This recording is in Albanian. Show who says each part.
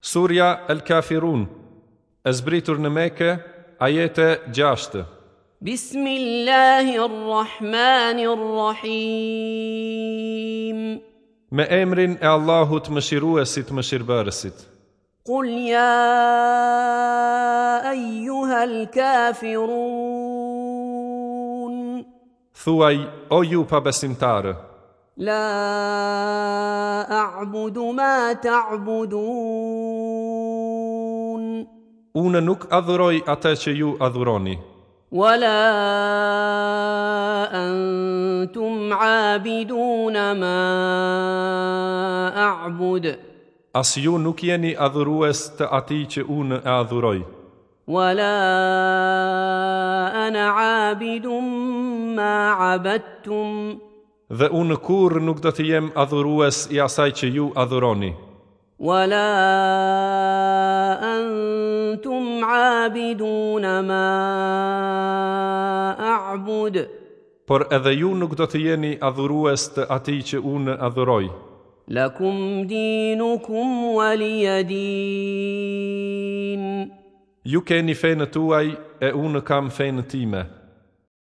Speaker 1: Surja El Kafirun, e zbritur në Mekë, ajete 6.
Speaker 2: بسم الله الرحمن الرحيم
Speaker 1: Me emrin e Allahut mëshiruesit mëshirbërësit.
Speaker 2: قل يا أيها الكافرون
Speaker 1: Thuaj, o ju pa besimtarë,
Speaker 2: لا أعبد ما تعبدون
Speaker 1: unë nuk adhuroj atë që ju adhuroni,
Speaker 2: ولا أنتم عابدون ما أعبد
Speaker 1: as ju nuk jeni adhurues të ati që unë e adhuroj,
Speaker 2: ولا أنا عابد ما عبدتم
Speaker 1: dhe unë kur nuk do të jem adhurues i asaj që ju adhuroni,
Speaker 2: ولا أنتم عابدون ما أعبد
Speaker 1: por edhe ju nuk do të jeni adhurues të ati që unë adhuroj,
Speaker 2: لكم دينكم ولي دين
Speaker 1: ju keni fejnë tuaj e unë kam fejnë time.'